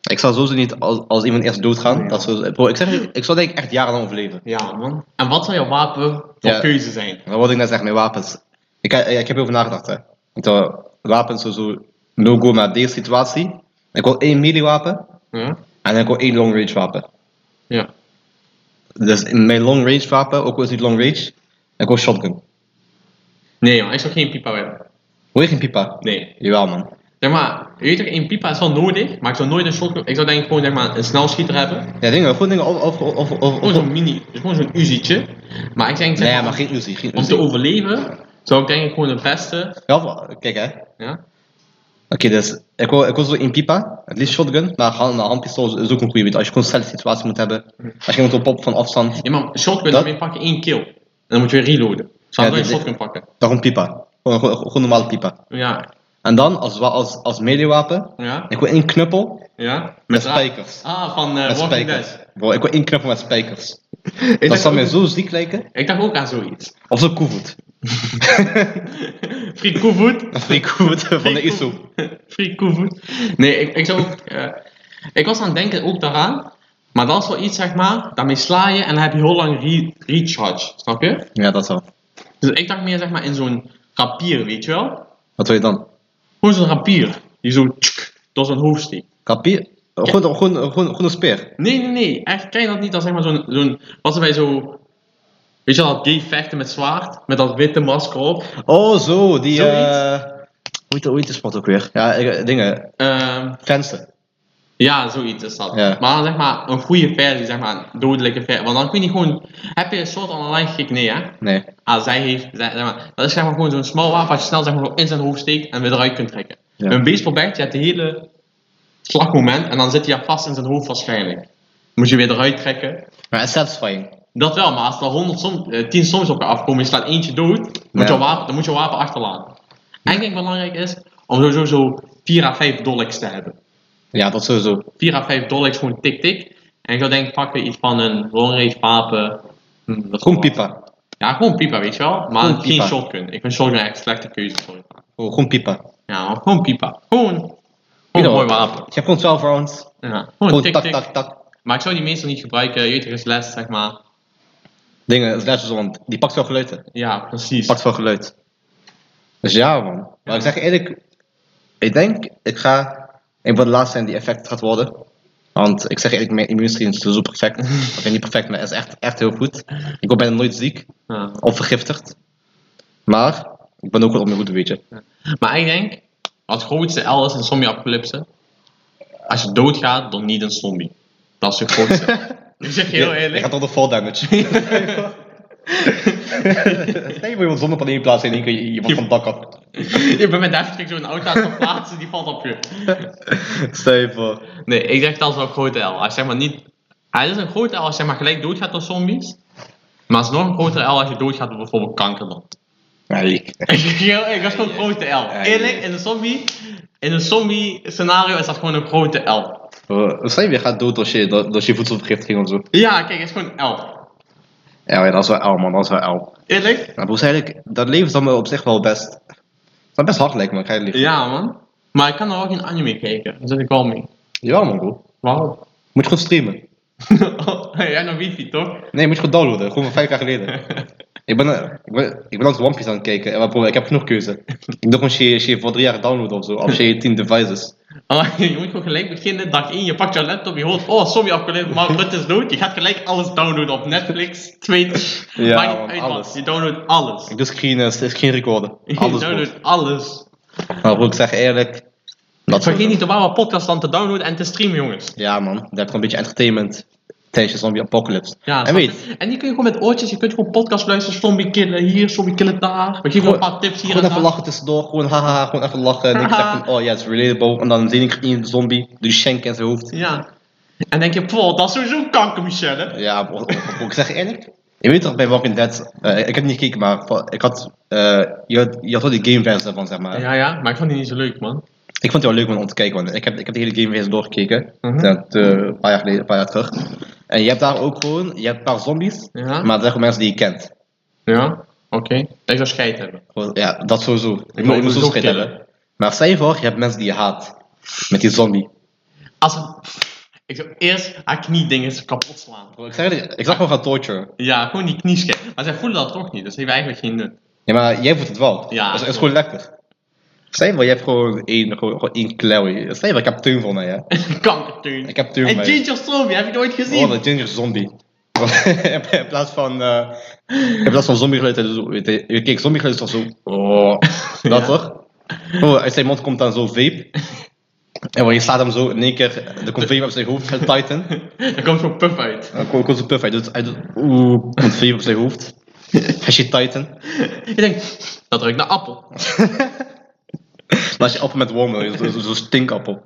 Speaker 2: Ik zou sowieso niet als, als iemand eerst doodgaan. Dat zou, bro, ik zeg je, ik zou denk ik echt jarenlang overleven.
Speaker 1: Ja man. En wat zou jouw wapen van
Speaker 2: Ja.
Speaker 1: keuze zijn?
Speaker 2: Dat wat ik net zeg, mijn wapens. Ik, eh, ik heb erover nagedacht, hè. Ik dacht, wapens sowieso no-go, maar deze situatie. Ik wil één melee wapen
Speaker 1: Ja.
Speaker 2: en ik wil één long range wapen.
Speaker 1: ja.
Speaker 2: Dus in mijn long range wapen, ook al is het niet long range, ik wil shotgun.
Speaker 1: Nee man, ik zou geen pipa willen.
Speaker 2: Hoor je geen pipa?
Speaker 1: Nee.
Speaker 2: Jawel, man.
Speaker 1: Zeg maar, je weet toch, één pipa is wel nodig, maar ik zou nooit een shotgun... Ik zou denk ik gewoon zeg maar, een snelschieter hebben.
Speaker 2: Ja, dingen, goed dingen. Of, of, of, of, of-
Speaker 1: Gewoon zo'n mini, dus gewoon zo'n uzietje. Maar ik denk zeg
Speaker 2: Nee,
Speaker 1: maar,
Speaker 2: maar geen Uzi, geen
Speaker 1: om
Speaker 2: Uzi.
Speaker 1: te overleven, zou ik denk ik gewoon de beste...
Speaker 2: Ja, of- kijk, hè.
Speaker 1: Ja?
Speaker 2: Oké, dus ik wil, ik wil zo in pipa, het liefst shotgun, maar hand, een handpistool is ook een goede. Weet je, als je gewoon een snelle situatie moet hebben, als je moet op pop van afstand,
Speaker 1: Ja maar, shotgun,
Speaker 2: Dat-
Speaker 1: dan pak je één kill. En dan moet je weer reloaden. Dus dan
Speaker 2: Ja,
Speaker 1: zou je
Speaker 2: dit-
Speaker 1: shotgun pakken.
Speaker 2: dan gewoon pipa. Gewoon, gewoon, gewoon normale pipa.
Speaker 1: Ja.
Speaker 2: En dan als, wa- als, als melee-wapen,
Speaker 1: Ja.
Speaker 2: ik wil één knuppel
Speaker 1: Ja.
Speaker 2: met
Speaker 1: draad-
Speaker 2: spijkers.
Speaker 1: Ah, van eh
Speaker 2: Met
Speaker 1: Walking
Speaker 2: spijkers.
Speaker 1: Dead.
Speaker 2: Bro, ik wil één knuppel met
Speaker 1: [laughs]
Speaker 2: spijkers.
Speaker 1: Ik
Speaker 2: Dat
Speaker 1: dacht,
Speaker 2: zou mij
Speaker 1: ook,
Speaker 2: zo ziek lijken,
Speaker 1: ik dacht ook aan zoiets.
Speaker 2: of zo koevoet.
Speaker 1: Free Koevoet.
Speaker 2: Free
Speaker 1: [laughs]
Speaker 2: koevoet van de ISO.
Speaker 1: Free Koevoet. [laughs] Nee, ik, ik zou ook... eh, ik was aan het denken ook daaraan. Maar dat is wel iets, zeg maar, daarmee sla je en dan heb je heel lang re recharge, snap je?
Speaker 2: Ja, dat wel.
Speaker 1: Dus ik dacht meer, zeg maar, in zo'n rapier, weet je wel?
Speaker 2: Wat wil je dan?
Speaker 1: Gewoon zo'n rapier, die zo tsk, door zijn hoofd steekt.
Speaker 2: Kapier? Gewoon, gewoon, gewoon, gewoon een speer.
Speaker 1: Nee, nee, nee, echt, ken je dat niet als, zeg maar, zo'n... zo'n wat ze bij zo... Weet je wel, dat gay vechten met zwaard, met dat witte masker op.
Speaker 2: Oh, zo, die...
Speaker 1: Zoiets.
Speaker 2: eh, Hoe heet, hoe heet de spot ook weer? Ja, ik- eh, dingen,
Speaker 1: Ehm,
Speaker 2: venster.
Speaker 1: Ja, zoiets is dat.
Speaker 2: Ja.
Speaker 1: Maar dan zeg maar een goede versie, zeg maar, een dodelijke versie. Want dan kun je gewoon. Heb je een soort online gekeken? Nee, hè?
Speaker 2: Nee.
Speaker 1: Ah, zij heeft. zij- zeg maar, dat is zeg maar gewoon zo'n smal wapen wat je snel zeg maar, in zijn hoofd steekt en weer eruit kunt trekken.
Speaker 2: Ja.
Speaker 1: Een baseballbat, je hebt de hele slagmoment en dan zit hij ja vast in zijn hoofd waarschijnlijk. Moet je weer eruit trekken.
Speaker 2: Maar het is satisfying.
Speaker 1: Dat wel, maar als er 100 som, eh, 10 soms op je afkomen, je slaat eentje dood, moet
Speaker 2: Ja.
Speaker 1: je wapen, dan moet je wapen achterlaten. En ik denk belangrijk is om sowieso zo 4 à 5 dolks te hebben.
Speaker 2: Ja, dat sowieso.
Speaker 1: 4 à 5 dollar is gewoon tik-tik. En ik zou denken, pak weer iets van een long-range wapen. Hm, dat
Speaker 2: Hmm, Gewoon
Speaker 1: zal wel.
Speaker 2: pipa.
Speaker 1: Ja, gewoon pipa, weet je wel. Maar
Speaker 2: Gewoon
Speaker 1: geen
Speaker 2: pipa.
Speaker 1: shotgun. Ik vind shotgun echt een slechte keuze voor je.
Speaker 2: Oh, gewoon pipa.
Speaker 1: Ja, maar gewoon pipa. Gewoon, gewoon
Speaker 2: Pipa.
Speaker 1: een mooi wapen. Oh,
Speaker 2: Je hebt gewoon 12 rounds.
Speaker 1: Ja,
Speaker 2: Gewoon
Speaker 1: gewoon
Speaker 2: tak,
Speaker 1: tik-tik.
Speaker 2: tak, tak.
Speaker 1: Maar ik zou die meestal niet gebruiken. Je weet toch, is les, zeg maar.
Speaker 2: Dingen, slashes, want die pakt wel geluid. hè. Die
Speaker 1: Ja, precies.
Speaker 2: pakt wel geluid. Dus ja, man. Maar ik zeg je eerlijk, ik denk, ik ga. Ik wil de laatste zijn die effect gaat worden. Want ik zeg je eerlijk, mijn immuunsysteem is sowieso perfect. [laughs] Oké, niet perfect, maar het is echt, echt heel goed. Ik word bijna nooit ziek
Speaker 1: Ja.
Speaker 2: of vergiftigd. Maar ik ben ook wel op mijn goede, weet je.
Speaker 1: Maar ik denk, wat het grootste L is in zombie-apocalypse. Als je doodgaat, dan niet een zombie. Dat is het grootste.
Speaker 2: [laughs]
Speaker 1: ik zeg je heel
Speaker 2: Je- Je
Speaker 1: eerlijk.
Speaker 2: gaat onder fall damage. [laughs] Stel je voor iemand zonder paneel plaatsen en één keer iemand van het dak af.
Speaker 1: Je bent met Deftig zo'n auto aan het verplaatsen, die valt op je.
Speaker 2: Stel je voor.
Speaker 1: Nee, ik zeg dat is wel een grote L. Als zeg maar niet... Hij is een grote L als zeg maar gelijk doodgaat door zombies. Maar het is nog een grotere L als je doodgaat door bijvoorbeeld kanker dan. [laughs]
Speaker 2: Ja, ik. eh,
Speaker 1: ik was gewoon een grote L. Eerlijk, in een zombie, in een zombie scenario is dat gewoon een grote L.
Speaker 2: Eh, Stel je weer gaat dood als je, dat- als je voedselvergiftiging of zo.
Speaker 1: Ja, kijk, het is gewoon een L.
Speaker 2: Ja, maar dat is wel L, man. Dat is wel L.
Speaker 1: Eerlijk?
Speaker 2: Maar broers, eigenlijk, dat leven is dan wel op zich wel best... Dat is best hard lijkt me, ik ga je lief.
Speaker 1: Ja, man. Maar ik kan er ook geen anime kijken, daar zit ik wel mee.
Speaker 2: Jawel, man, broer.
Speaker 1: Waarom? [laughs]
Speaker 2: Moet je goed streamen.
Speaker 1: Jij nog wifi, toch?
Speaker 2: Nee, moet je goed downloaden. Gewoon van vijf jaar
Speaker 1: [laughs]
Speaker 2: geleden. ik ben, eh, ik ben, ik ben altijd One Piece aan het kijken. En maar broer, ik heb genoeg keuze. Ik doe gewoon shit shit voor drie jaar downloaden of zo. Of shit 10 devices.
Speaker 1: Oh, [laughs] je moet gewoon gelijk beginnen, dag 1, je pakt je laptop, je hoort, oh, zombie afgeleverd, maar Rutte is dood. Je gaat gelijk alles downloaden op Netflix, Twitch,
Speaker 2: Ja,
Speaker 1: maakt niet
Speaker 2: man,
Speaker 1: uit, man.
Speaker 2: alles.
Speaker 1: Je downloadt alles.
Speaker 2: Ik doe screen, eh, screen recorden.
Speaker 1: [laughs] Je
Speaker 2: Alles goed.
Speaker 1: downloadt alles.
Speaker 2: Maar broer, ik zeg eerlijk... Dat soort-
Speaker 1: Vergeet niet de Wawa podcast dan te downloaden en te streamen, jongens.
Speaker 2: Ja, man. Daar heb je gewoon een beetje entertainment. Tijdens zombie apocalypse.
Speaker 1: Ja,
Speaker 2: en
Speaker 1: snap je?
Speaker 2: weet...
Speaker 1: en die kun je gewoon met oortjes, je kunt gewoon podcast luisteren, zombie killen hier, zombie killen daar. We geven gewoon een paar tips hier en
Speaker 2: Gewoon even
Speaker 1: daar.
Speaker 2: lachen tussendoor, gewoon haha, gewoon even lachen. En ik zeg van, oh ja, het is relatable. En dan zie ik een zombie, doe schenk in zijn hoofd.
Speaker 1: Ja. En denk je, pff, dat is sowieso kanker, Michelle. hè?
Speaker 2: Ja, bro, bro, bro, ik zeg eerlijk. Je weet toch bij Walking Dead, eh, ik heb niet gekeken, maar van- ik had, eh, je had, je had wel die gameversie daarvan, zeg maar.
Speaker 1: Ja, ja, maar ik vond die niet zo leuk, man.
Speaker 2: Ik vond het wel leuk om te kijken, want ik heb, ik heb de hele gameversie doorgekeken.
Speaker 1: Mhm.
Speaker 2: Dat, eh, een paar jaar geleden, een paar jaar terug. En je hebt daar ook gewoon, je hebt een paar zombies,
Speaker 1: Ja,
Speaker 2: maar het zijn gewoon mensen die je kent.
Speaker 1: ja, oké. Ik zou scheid hebben.
Speaker 2: Gewoon, Ja, dat sowieso. Ik
Speaker 1: wil
Speaker 2: moet
Speaker 1: sowieso
Speaker 2: sowieso schrik
Speaker 1: killen.
Speaker 2: hebben. Maar stel je voor, je hebt mensen die je haat. Met die zombie.
Speaker 1: Als ik zou eerst haar kniedingen kapot slaan.
Speaker 2: Bro, Ik zeg eerlijk, ik zag gewoon gaan torture.
Speaker 1: Ja, gewoon die knieschijf. Maar zij voelen dat toch niet, dus heeft eigenlijk geen nut. [laughs]
Speaker 2: Ja, maar jij voelt het wel.
Speaker 1: Ja,
Speaker 2: Ja, dat is,
Speaker 1: klopt.
Speaker 2: is gewoon lekker. Stel je voor, je hebt gewoon één, gewoon, gewoon één klauw. Stel je voor, ik heb teun van mij, hè.
Speaker 1: [laughs] Kankerteun.
Speaker 2: Ik heb teun van
Speaker 1: En
Speaker 2: mij.
Speaker 1: Ginger Zombie, heb je nooit
Speaker 2: Oh,
Speaker 1: gezien?
Speaker 2: een ginger zombie. [laughs] in plaats van, eh in plaats van zombiegeluid, en zo, weet je, je kijk, zombiegeluid is toch zo, oh,
Speaker 1: Ja.
Speaker 2: dat toch? Oh, uit zijn mond komt dan zo vape. En je slaat hem zo in één keer, er komt vape op zijn hoofd, gaat titan.
Speaker 1: Daar komt zo'n puff uit.
Speaker 2: Dan komt komt zo'n puff, hij doet, hij doet, oeh, komt vape op zijn hoofd. Hij shit titan.
Speaker 1: Ik denk, dat ruikt naar appel.
Speaker 2: Maar als je appel met worm wil, zo- zo- zo'n stinkappel.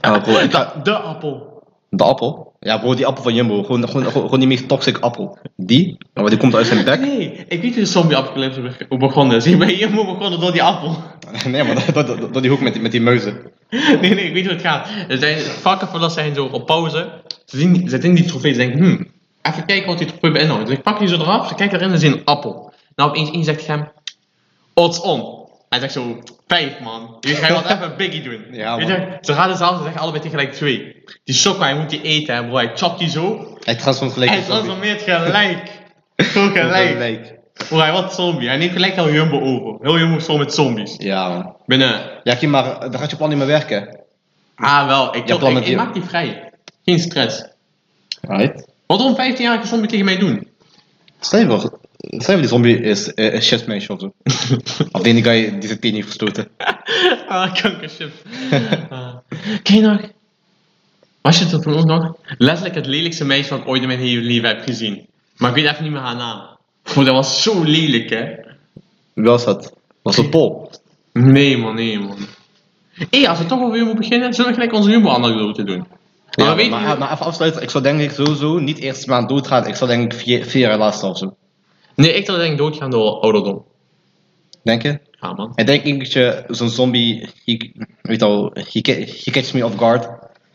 Speaker 2: Ah, bro, ik ga-
Speaker 1: De appel.
Speaker 2: de appel? Ja, bro, die appel van Jumbo. Gewoon, gewoon, gewoon, gewoon die meest toxic appel. Die? Maar die komt uit
Speaker 1: [laughs]
Speaker 2: zijn bek.
Speaker 1: Nee, ik weet hoe de zombie apocalypse be- begonnen is. Ik ben helemaal begonnen door die appel.
Speaker 2: Nee, maar dat, dat, dat- die hoek met die, met die muizen.
Speaker 1: [laughs] Nee, nee, ik weet hoe het gaat. Er zijn vakkenvullers zijn zo op pauze. Ze zien, ze zien die trofee, ze denken, hmm, even kijken wat die trofee beïnhoudt. Dus ik pak die zo eraf, ze kijken erin en ze zien een appel. Nou, opeens één zegt tegen hem, odds on. Hij zegt zo, vijf man. Die ga je wat even een biggie doen.
Speaker 2: [laughs] Ja,
Speaker 1: Weet
Speaker 2: man.
Speaker 1: je, ze raden zelf, ze zeggen allebei tegelijk twee. Die sokka, hij moet die eten, hè, bro. Hij chopt die zo.
Speaker 2: Hij transformeert gelijk.
Speaker 1: Hij
Speaker 2: in zombie.
Speaker 1: transformeert
Speaker 2: [laughs]
Speaker 1: gelijk. Gewoon gelijk.
Speaker 2: Gelijk.
Speaker 1: Bro, hij wordt zombie. Hij neemt gelijk heel Jumbo over. Heel Jumbo is vol met zombies.
Speaker 2: Ja, man.
Speaker 1: Binnen
Speaker 2: Ja, Kim, maar eh, dan gaat je plan niet meer werken.
Speaker 1: Ah, wel. Ik,
Speaker 2: Je hebt
Speaker 1: wil-
Speaker 2: dan
Speaker 1: ik,
Speaker 2: met
Speaker 1: ik
Speaker 2: die-
Speaker 1: maak die vrij. Geen stress.
Speaker 2: Right.
Speaker 1: Wat wil een 15-jarige zombie tegen mij doen?
Speaker 2: Stel je voor, stel je voor die zombie is eh, een shitmeisje of zo. [laughs] Of die ene guy die zijn teen heeft verstoten.
Speaker 1: [laughs] ah, kankership. [laughs] Ah. Ken je nog? Was je dat toen ook nog? Letterlijk het lelijkste meisje wat ik ooit in mijn hele leven heb gezien. Maar ik weet even niet meer haar naam. Bro, dat was zo lelijk, hè?
Speaker 2: Wie was dat? Was dat Paul?
Speaker 1: Nee, man, nee, man. Hé, als we toch over humor beginnen, zullen we gelijk onze humor-anekdote doen. Maar
Speaker 2: Ja,
Speaker 1: we weten
Speaker 2: maar,
Speaker 1: niet-
Speaker 2: maar even afsluiten, ik zou denk ik sowieso niet eerst maand doodgaan. Ik zou denk ik vier, vier jaar lasten of zo.
Speaker 1: Nee, ik zou denk ik doodgaan door ouderdom.
Speaker 2: Denk je?
Speaker 1: Ja, man.
Speaker 2: En denk ik dat je zo'n zombie, he, weet al, he, ca- he catches me off guard.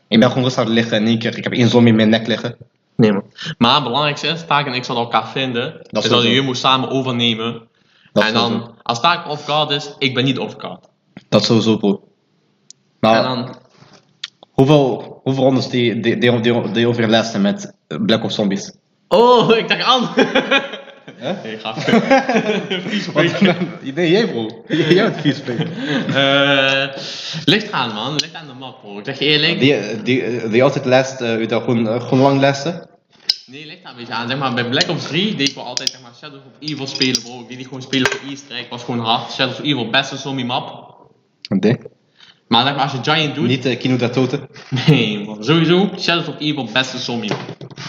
Speaker 2: Ik ben gewoon rustig aan het liggen en in één keer, ik heb één zombie in mijn nek liggen.
Speaker 1: Nee, man. Maar het belangrijkste is, Taak en ik zullen elkaar vinden. Dat
Speaker 2: sowieso.
Speaker 1: en dat humor samen overnemen.
Speaker 2: Dat
Speaker 1: en
Speaker 2: sowieso.
Speaker 1: dan, als Taak off guard is, ik ben niet off guard.
Speaker 2: Dat sowieso, bro. Maar
Speaker 1: En dan,
Speaker 2: hoeveel, hoeveel rondes die, die, die, die, die over je lasten met eh, Black Ops Zombies?
Speaker 1: oh, ik dacht aan.
Speaker 2: Hè?
Speaker 1: [laughs] Nee, [laughs] grapje. Vies beetje.
Speaker 2: [laughs] nee, jij bro. Jij bent vies, bro.
Speaker 1: Eh, Ligt aan, man. Ligt aan de map, bro. Ik zeg je eerlijk.
Speaker 2: Die, die, die altijd last, eh, weet je wel, gewoon, eh, gewoon lang lasten.
Speaker 1: Nee, ligt daar een beetje aan. Zeg maar, bij Black Ops 3 deed ik wel altijd zeg maar, Shadows of Evil spelen, bro. Ik deed niet gewoon spelen voor Easter egg. was gewoon hard. Shadows of Evil, beste zombie map.
Speaker 2: Nee.
Speaker 1: Maar zeg maar, als je Giant doet...
Speaker 2: Niet eh, Kino Datote.
Speaker 1: Nee, man. Sowieso, Shadows of Evil, beste zombie.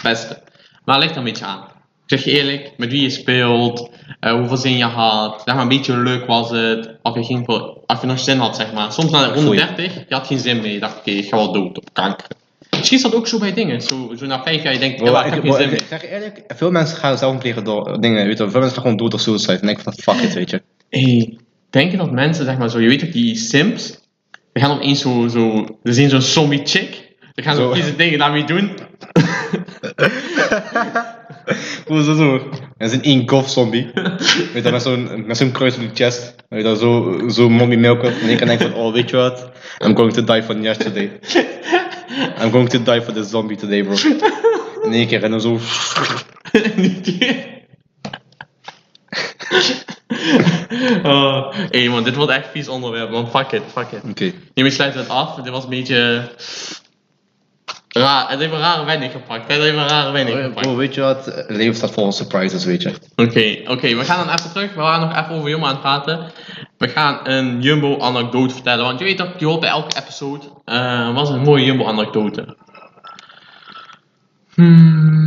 Speaker 1: Beste. Maar ligt er een beetje aan. Ik zeg je eerlijk, met wie je speelt, eh, hoeveel zin je had, zeg maar een beetje leuk was het, of je, ging voor, of je nog zin had, zeg maar. Soms na de ronde
Speaker 2: Voel je.
Speaker 1: 30, je had geen zin meer, je dacht, oké, ik ga wel dood op kanker. Misschien is dat ook zo bij dingen, zo, zo na vijf jaar, je denkt, ja, maar ik
Speaker 2: ik,
Speaker 1: heb geen zin
Speaker 2: ik-
Speaker 1: meer.
Speaker 2: ik zeg je eerlijk, veel mensen gaan zelf plegen door eh, dingen, weet je wel. Veel mensen gaan gewoon dood door suicide. En ik denk van, fuck it, weet je.
Speaker 1: hey, denk je dat mensen, zeg maar zo, je weet toch die Sims, die gaan opeens zo, zo ze zien zo'n zombie chick, ze gaan zo
Speaker 2: Zo.
Speaker 1: kiezen dingen daarmee doen.
Speaker 2: Hoe is dat zo? Dat is een één golf [laughs] zombie. Weet je, dat, met zo'n met zo'n kruis op de chest. Weet je, dat zo, zo mommy milken. En ik kan denken van, oh weet je wat? I'm going to die from [laughs] yesterday. I'm going to die for this zombie today, bro. In één keer en dan zo.
Speaker 1: [laughs] oh, hey man, dit wordt echt vies onderwerp, man. Fuck it, fuck it.
Speaker 2: Oké.
Speaker 1: Nu sluiten we het af. Dit was een beetje. Raar. Het heeft een rare wending gepakt. Het heeft een rare wending gepakt.
Speaker 2: Bro, weet je wat? Het Leven staat vol surprises, weet je.
Speaker 1: Oké, oké. we gaan dan even terug. We waren nog even over Jumbo aan het praten. We gaan een Jumbo-anekdote vertellen. Want je weet toch, die hoort bij elke episode. Eh was een mooie Jumbo-anekdote. Hmm.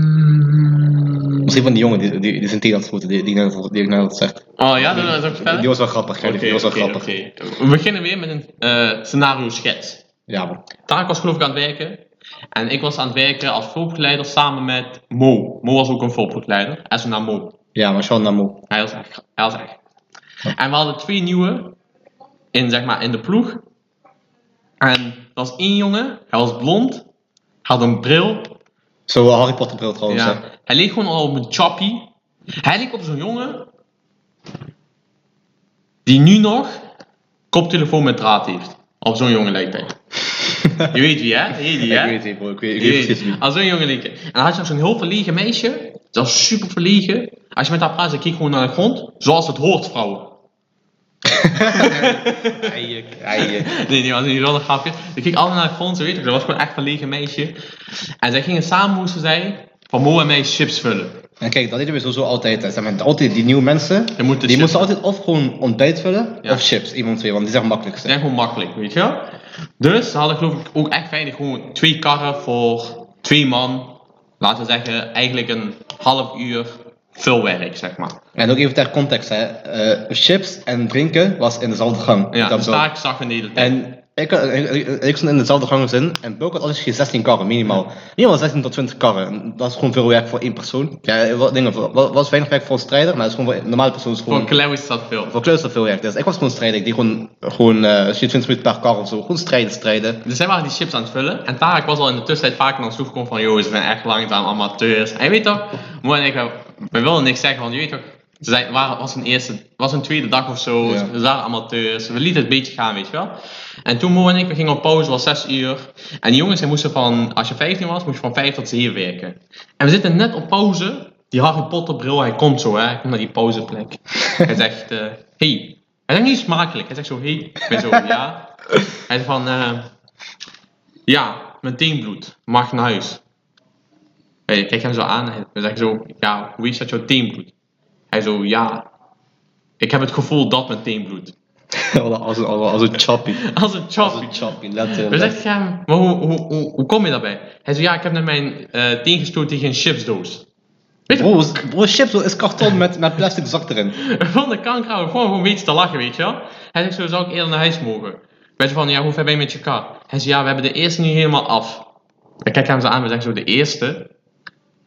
Speaker 2: Misschien van die jongen, die, die, die zijn tegen aan het voeten, die, die, ik net- die ik net had gezegd.
Speaker 1: Oh ja, dat wil ik ook vertellen?
Speaker 2: Die was wel grappig, ja, die- die was wel
Speaker 1: Oké, oké,
Speaker 2: grappig.
Speaker 1: oké. We beginnen weer met een eh, scenario-schets.
Speaker 2: Ja, man.
Speaker 1: Taak was geloof ik aan het werken. En ik was aan het werken als voorbegeleider samen met Mo. Mo was ook een voorbegeleider. En zo naar Mo.
Speaker 2: Ja, maar Sean Namo.
Speaker 1: Hij was echt. Hij was echt. En we hadden twee nieuwe in, zeg maar, in de ploeg. En er was één jongen, hij was blond, had een bril.
Speaker 2: Zo eh, Harry Potter bril trouwens.
Speaker 1: Ja.
Speaker 2: hè.
Speaker 1: Hij leek gewoon al op een choppie. Hij leek op zo'n jongen die nu nog koptelefoon met draad heeft. Op zo'n jongen lijkt
Speaker 2: [laughs]
Speaker 1: hij. Je weet wie hè? Je weet wie, hè?
Speaker 2: Ik weet het, bro. Ik weet, ik weet precies wie.
Speaker 1: Jee, Als zo'n jongen liedje. En dan had je nog zo'n heel verlegen meisje. Dat was super verlegen. Als je met haar praat, ze keek gewoon naar de grond. Zoals het hoort, vrouwen. [laughs]
Speaker 2: Eijek, eijek.
Speaker 1: Nee, nee, dat was niet zo'n grapje. Ze keek allemaal naar de grond, ze weet ik. Dat was gewoon echt een verlegen meisje. En zij gingen samen, moesten zij, van Mo en mij chips vullen.
Speaker 2: En kijk, dat deden we sowieso altijd. hè. Zeg maar, altijd die nieuwe mensen, die
Speaker 1: moeten
Speaker 2: moesten
Speaker 1: chips.
Speaker 2: altijd of gewoon ontbijt vullen,
Speaker 1: Ja.
Speaker 2: of chips. Iemand twee, want die zijn het makkelijkste.
Speaker 1: Dat is gewoon makkelijk, weet je wel. Dus ze hadden geloof ik ook echt weinig. Gewoon twee karren voor twee man. Laten we zeggen, eigenlijk een half uur vulwerk, zeg maar.
Speaker 2: En ook even ter context, hè. Eh, chips en drinken was in dezelfde gang.
Speaker 1: Ja,
Speaker 2: Dat
Speaker 1: dus
Speaker 2: wel.
Speaker 1: daar zag in de hele tijd.
Speaker 2: En ik, had- ik, ik- ik stond in dezelfde gang als in, en Bulk had altijd geen 16 karren, minimaal. Minimaal 16 tot 20 karren. En Dat is gewoon veel werk voor één persoon. Ja, wat dingen, voor- wa- was weinig werk voor een strijder, maar dat is gewoon voor een normale persoon. Is
Speaker 1: Voor
Speaker 2: gewoon,
Speaker 1: Klauw is dat veel.
Speaker 2: voor Klaus dat veel werk. Dus ik was gewoon strijder, ik deed gewoon, gewoon eh, als je 20 minuten per kar of zo. Gewoon strijden, strijden.
Speaker 1: [laughs] Dus zij waren die chips aan het vullen. En Tarek was al in de tussentijd vaak naar ons toe gekomen van... ...joh, ze zijn echt langzaam amateurs. En je weet toch, Mo en ik, we, we wilden niks zeggen, want je weet toch... Ze zijn, waren, was, een eerste, was een tweede dag of zo,
Speaker 2: Ja.
Speaker 1: ze waren amateurs. We lieten het een beetje gaan, weet je wel. En toen Mo en ik, we gingen op pauze, het was 6 uur. En die jongens, die moesten van... Als je 15 was, moest je van 5 tot 7 werken. En we zitten net op pauze. Die Harry Potter bril, hij komt zo, hè. Hij komt naar die pauzeplek. hij zegt, eh, hey. Hij zegt niet smakelijk. Hij zegt zo, hey. Ik ben zo, ja. Hij zegt van, eh, ja, mijn teenbloed. Mag naar huis. Hey, ik kijk hem zo aan. en Hij zegt zo, ja, hoe is dat jouw teenbloed? Hij zo, ja. Ik heb het gevoel dat mijn teenbloed.
Speaker 2: [laughs] als, een, als een also, choppy.
Speaker 1: [laughs] Als een
Speaker 2: Als
Speaker 1: choppie.
Speaker 2: een Also choppy,
Speaker 1: We
Speaker 2: letterlijk.
Speaker 1: zeggen tegen hem, maar hoe, hoe, hoe, hoe kom je daarbij? Hij zo, ja, ik heb net mijn eh teen gestoten tegen een chipsdoos. Weet je,
Speaker 2: Bro, is- bro, chips is karton met, met plastic zak erin.
Speaker 1: [laughs] We vonden kanker aan, we gewoon gewoon een beetje te lachen, weet je wel. Hij zegt zo, zou ik eerder naar huis mogen? Weet je van, ja, hoe ver ben je met je kar? Hij zei, ja, we hebben de eerste nu helemaal af. We kijken hem zo aan, we zeggen zo, de eerste?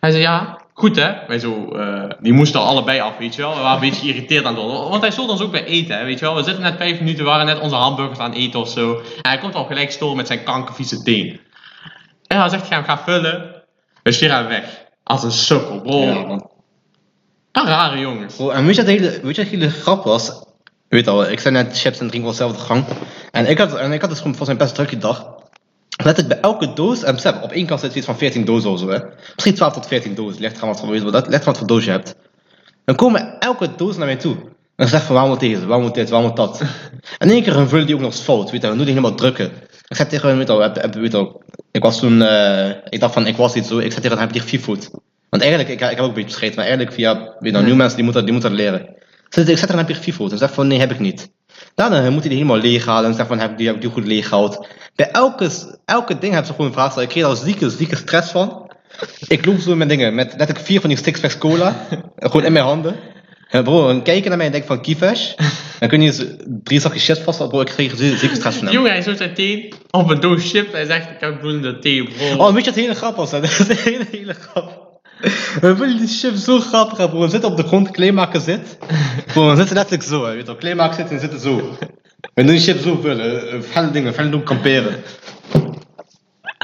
Speaker 1: Hij zei, ja, goed hè. Wij zo, eh, die moesten allebei af, weet je wel. We waren een beetje geïrriteerd aan het worden. Want hij stond ons ook bij eten, hè, weet je wel. We zitten net vijf minuten, we waren net onze hamburgers aan het eten of zo. En hij komt al gelijk storen met zijn kankervieze teen. En dan zegt hij hem, ga vullen. We sturen hem weg. Als een sukkel, bro.
Speaker 2: Ja, man.
Speaker 1: Ah, rare jongens.
Speaker 2: Bro, en weet je wat de hele, weet je wat de hele grap was? Je weet al, ik zei net chips en drinken was zelf de gang. En ik had, en ik had dus gewoon voor zijn best drukje dag. Let ik bij elke doos, en besef, op één kant zit iets van 14 dozen of zo, hè. Misschien 12 tot 14 dozen, ligt eraan wat voor, ligt eraan wat voor doos je hebt. Dan komen elke doos naar mij toe. En zegt van, waarom moet deze, waarom moet dit, waarom moet dat? En in één keer vullen die ook nog eens fout, weet je wel, dan doe die helemaal drukken. Ik zei tegen hem, weet je wel, heb- heb- weet je wel, ik was toen, eh, ik dacht van, ik was iets zo, ik zei tegen hem, heb je fifoot? Want eigenlijk, ik, ik heb ook een beetje beschreven, maar eigenlijk via, weet je wel, nieuwe mensen, die moeten, die moeten dat leren. Ik zei, ik zet er een papier FIFO. Toen zei hij van, nee, heb ik niet. Daarna moet hij die helemaal leeghalen. En zegt van, heb ik die, heb ik die goed leeggehaald? Bij elke, elke ding hebben ze gewoon een vraag. Ik kreeg daar zieke, zieke stress van. Ik loop zo met dingen. Met net ik vier van die sixpacks cola. [laughs] gewoon in mijn handen. En bro, een kijken naar mij en denk van, kiefash. Dan kun je eens drie zakjes chips vast. Bro, ik kreeg zie- zieke stress van hem.
Speaker 1: Jongen, hij zoet zijn teen op een doos chips. Hij zegt, ik heb bloedende thee, bro.
Speaker 2: [laughs] Oh, weet je wat de hele grap was? hè? Dat is de hele, hele grap. We vinden die chips zo grappig, hè, bro. We zitten op de grond, kleemaker zit. Bro, we zitten letterlijk zo, hè. Weet je wel, kleemaker zit en we zitten zo. We doen chips zo vullen. eh, Felle dingen, felle doen kamperen.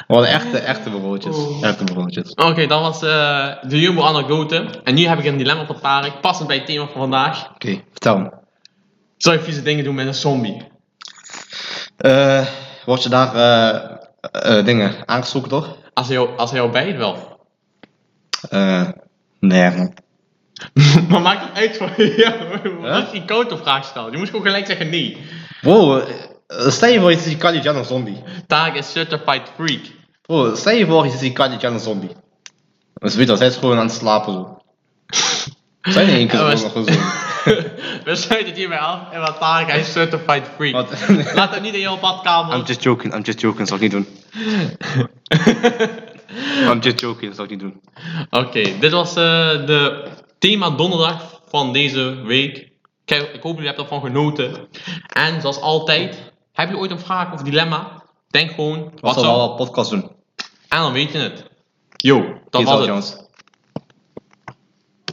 Speaker 2: Wat echte, echte broodjes.
Speaker 1: Oh.
Speaker 2: Echte broodjes.
Speaker 1: Oké, dat was eh, de Jumbo anekdote. En nu heb ik een dilemma voor Tarek, passend bij het thema van vandaag.
Speaker 2: Oké, vertel me.
Speaker 1: Zou je vieze dingen doen met een zombie?
Speaker 2: Eh, word je daar eh, eh, dingen aangestoken door?
Speaker 1: Als hij jou, als hij jou bijt wel. [laughs]
Speaker 2: Eh, nee, man.
Speaker 1: maar maakt het uit voor jou? [laughs]
Speaker 2: Ja?
Speaker 1: Dat is die koude vraag stelt. Je moest gewoon gelijk zeggen nee.
Speaker 2: Bro, eh, eh, stel je voor je ziet die Kalijan een zombie.
Speaker 1: Tarek is certified freak. [laughs]
Speaker 2: Bro, stel je voor je ziet die Kalijan een zombie. Dus weet je wel, zij is gewoon aan het slapen [laughs] zo. Zij niet één keer
Speaker 1: Ja,
Speaker 2: zo,
Speaker 1: maar-
Speaker 2: nog [laughs] gewoon zo.
Speaker 1: We sluiten het hierbij af. En wat Tarek, hij is certified freak.
Speaker 2: Wat?
Speaker 1: Laat dat niet in jouw badkamer.
Speaker 2: just joking, [laughs] I'm just joking, zal ik niet doen.
Speaker 1: [laughs]
Speaker 2: I'm just joking, zal ik niet doen.
Speaker 1: Oké, dit was eh, de thema donderdag van deze week. Kijk, ik hoop jullie hebben ervan genoten. En zoals altijd, heb je ooit een vraag of dilemma? Denk gewoon, wat
Speaker 2: Wat zal wel
Speaker 1: zo.
Speaker 2: een podcast doen?
Speaker 1: En dan weet je het. Yo, dat
Speaker 2: Peace
Speaker 1: was
Speaker 2: out,
Speaker 1: het.
Speaker 2: jongens.